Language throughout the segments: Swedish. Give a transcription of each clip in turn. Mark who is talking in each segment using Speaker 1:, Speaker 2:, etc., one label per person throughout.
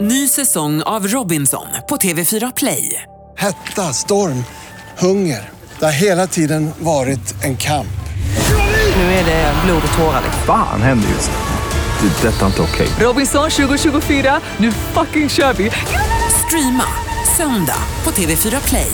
Speaker 1: Ny säsong av Robinson på TV4 Play.
Speaker 2: Hetta, storm, hunger. Det har hela tiden varit en kamp.
Speaker 1: Nu är det blod och tårar.
Speaker 3: Fan händer just nu. Det. är Detta är inte okej.
Speaker 1: Robinson 2024, nu fucking kör vi! Streama söndag på TV4 Play.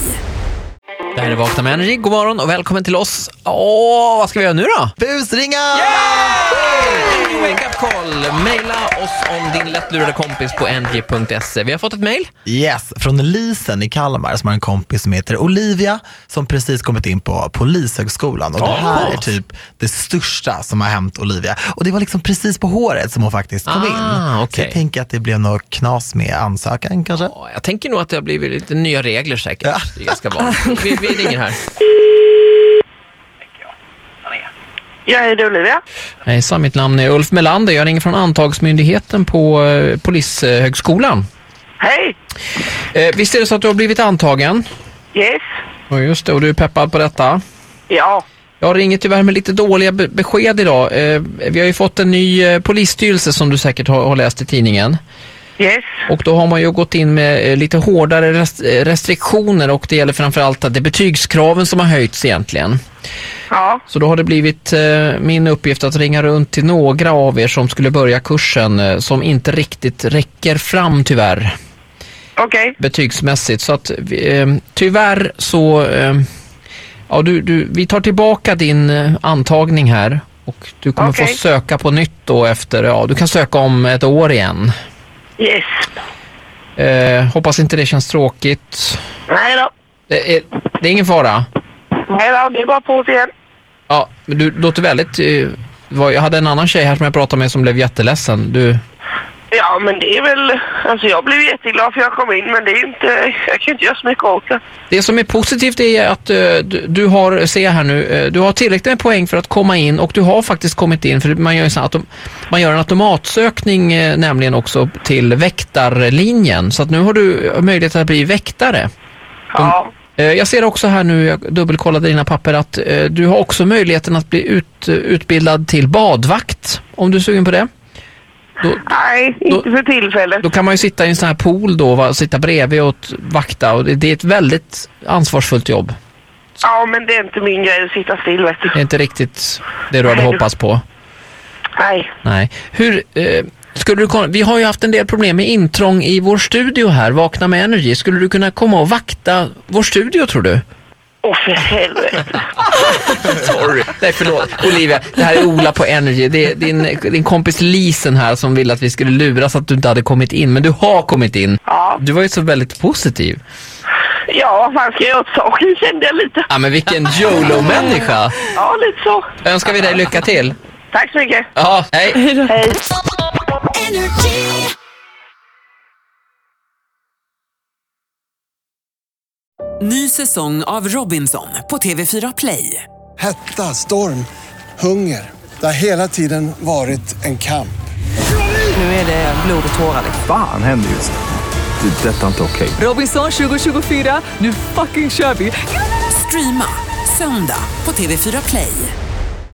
Speaker 4: Det här är Vakna med Energy. God morgon och välkommen till oss. Åh, vad ska vi göra nu då?
Speaker 5: Busringa!
Speaker 4: Energy Wake Up Call. Maila oss om din lättlurade kompis på energy.se. Vi har fått ett mail.
Speaker 5: Yes, från Lisen i Kalmar som har en kompis som heter Olivia som precis kommit in på Polishögskolan. Och det här är typ det största som har hänt Olivia. Och det var liksom precis på håret som hon faktiskt kom
Speaker 4: Ah,
Speaker 5: in. Så
Speaker 4: okej.
Speaker 5: jag tänker att det blev något knas med ansökan kanske.
Speaker 4: Åh, Jag tänker nog att det har blivit lite nya regler säkert. Det är ganska vanligt. Vi, vi ringer här.
Speaker 6: Jag är Olivia.
Speaker 4: Hejsan, mitt namn är Ulf Melander. Jag ringer från antagsmyndigheten på eh, Polishögskolan.
Speaker 6: Hej!
Speaker 4: Eh, Visst är det så att du har blivit antagen?
Speaker 6: Yes.
Speaker 4: Ja, just det. Och du är peppad på detta?
Speaker 6: Ja.
Speaker 4: Jag ringer tyvärr med lite dåliga be- besked idag. Eh, vi har ju fått en ny eh, polisstyrelse som du säkert har, har läst i tidningen.
Speaker 6: Yes.
Speaker 4: Och då har man ju gått in med eh, lite hårdare rest- eh, restriktioner och det gäller framförallt att det är betygskraven som har höjts egentligen.
Speaker 6: Ja.
Speaker 4: Så då har det blivit eh, min uppgift att ringa runt till några av er som skulle börja kursen eh, som inte riktigt räcker fram tyvärr
Speaker 6: Okej.
Speaker 4: betygsmässigt. Så att vi, eh, tyvärr så, eh, ja du, du, vi tar tillbaka din eh, antagning här och du kommer få
Speaker 6: Okej.
Speaker 4: söka på nytt då efter, ja du kan söka om ett år igen.
Speaker 6: Yes.
Speaker 4: Eh, hoppas inte det känns tråkigt.
Speaker 6: Nej då.
Speaker 4: Det är, det är ingen fara.
Speaker 6: Nej då, det är bara på oss igen.
Speaker 4: Ja, men du låter väldigt, eh, var, jag hade en annan tjej här som jag pratade med som blev jätteledsen. Du,
Speaker 6: Ja, men det är väl... Alltså jag blev jätteglad för jag kom in, men det är inte... Jag kan inte göra så mycket åt det.
Speaker 4: Det som är positivt är att eh, du, du har, se här nu, eh, du har tillräckligt med poäng för att komma in och du har faktiskt kommit in för man gör, ju så att de- man gör en automatsökning eh, nämligen också till väktarlinjen så att nu har du eh, möjlighet att bli väktare.
Speaker 6: Ja.
Speaker 4: Eh, Jag ser också här nu, jag dubbelkollade dina papper, att eh, du har också möjligheten att bli ut, utbildad till badvakt om du är sugen på det.
Speaker 6: Nej, inte för tillfället.
Speaker 4: Då kan man ju sitta i en sån här pool då, va, sitta bredvid och t- vakta och det, det är ett väldigt ansvarsfullt jobb.
Speaker 6: Ja, men det är inte min grej att sitta still, vet
Speaker 4: Det är
Speaker 6: du.
Speaker 4: inte riktigt det du hade
Speaker 6: Nej, du-
Speaker 4: hoppats på.
Speaker 6: Nej.
Speaker 4: Nej. Hur, eh, skulle du, kon- vi har ju haft en del problem med intrång i vår studio här, Vakna med Energy. Skulle du kunna komma och vakta vår studio tror du?
Speaker 6: Åh, för helvete.
Speaker 4: Sorry. Nej, förlåt. Olivia, det här är Ola på Energy. Det är din, din kompis Lisen här som ville att vi skulle luras att du inte hade kommit in, men du har kommit in.
Speaker 6: Ja.
Speaker 4: Du var ju så väldigt positiv.
Speaker 6: Ja, vad fan ska jag göra åt saken, kände jag lite.
Speaker 4: Ja, men vilken YOLO-människa.
Speaker 6: Ja, lite så.
Speaker 4: Önskar vi dig lycka till.
Speaker 6: Tack så mycket.
Speaker 4: Ja, hej.
Speaker 6: Hej.
Speaker 1: Ny säsong av Robinson på TV4 Play.
Speaker 2: Hetta, storm, hunger. Det har hela tiden varit en kamp.
Speaker 3: Fan händer just nu. Det. är Detta är inte okej.
Speaker 7: Robinson 2024, nu fucking kör vi!
Speaker 1: Streama söndag på TV4 Play.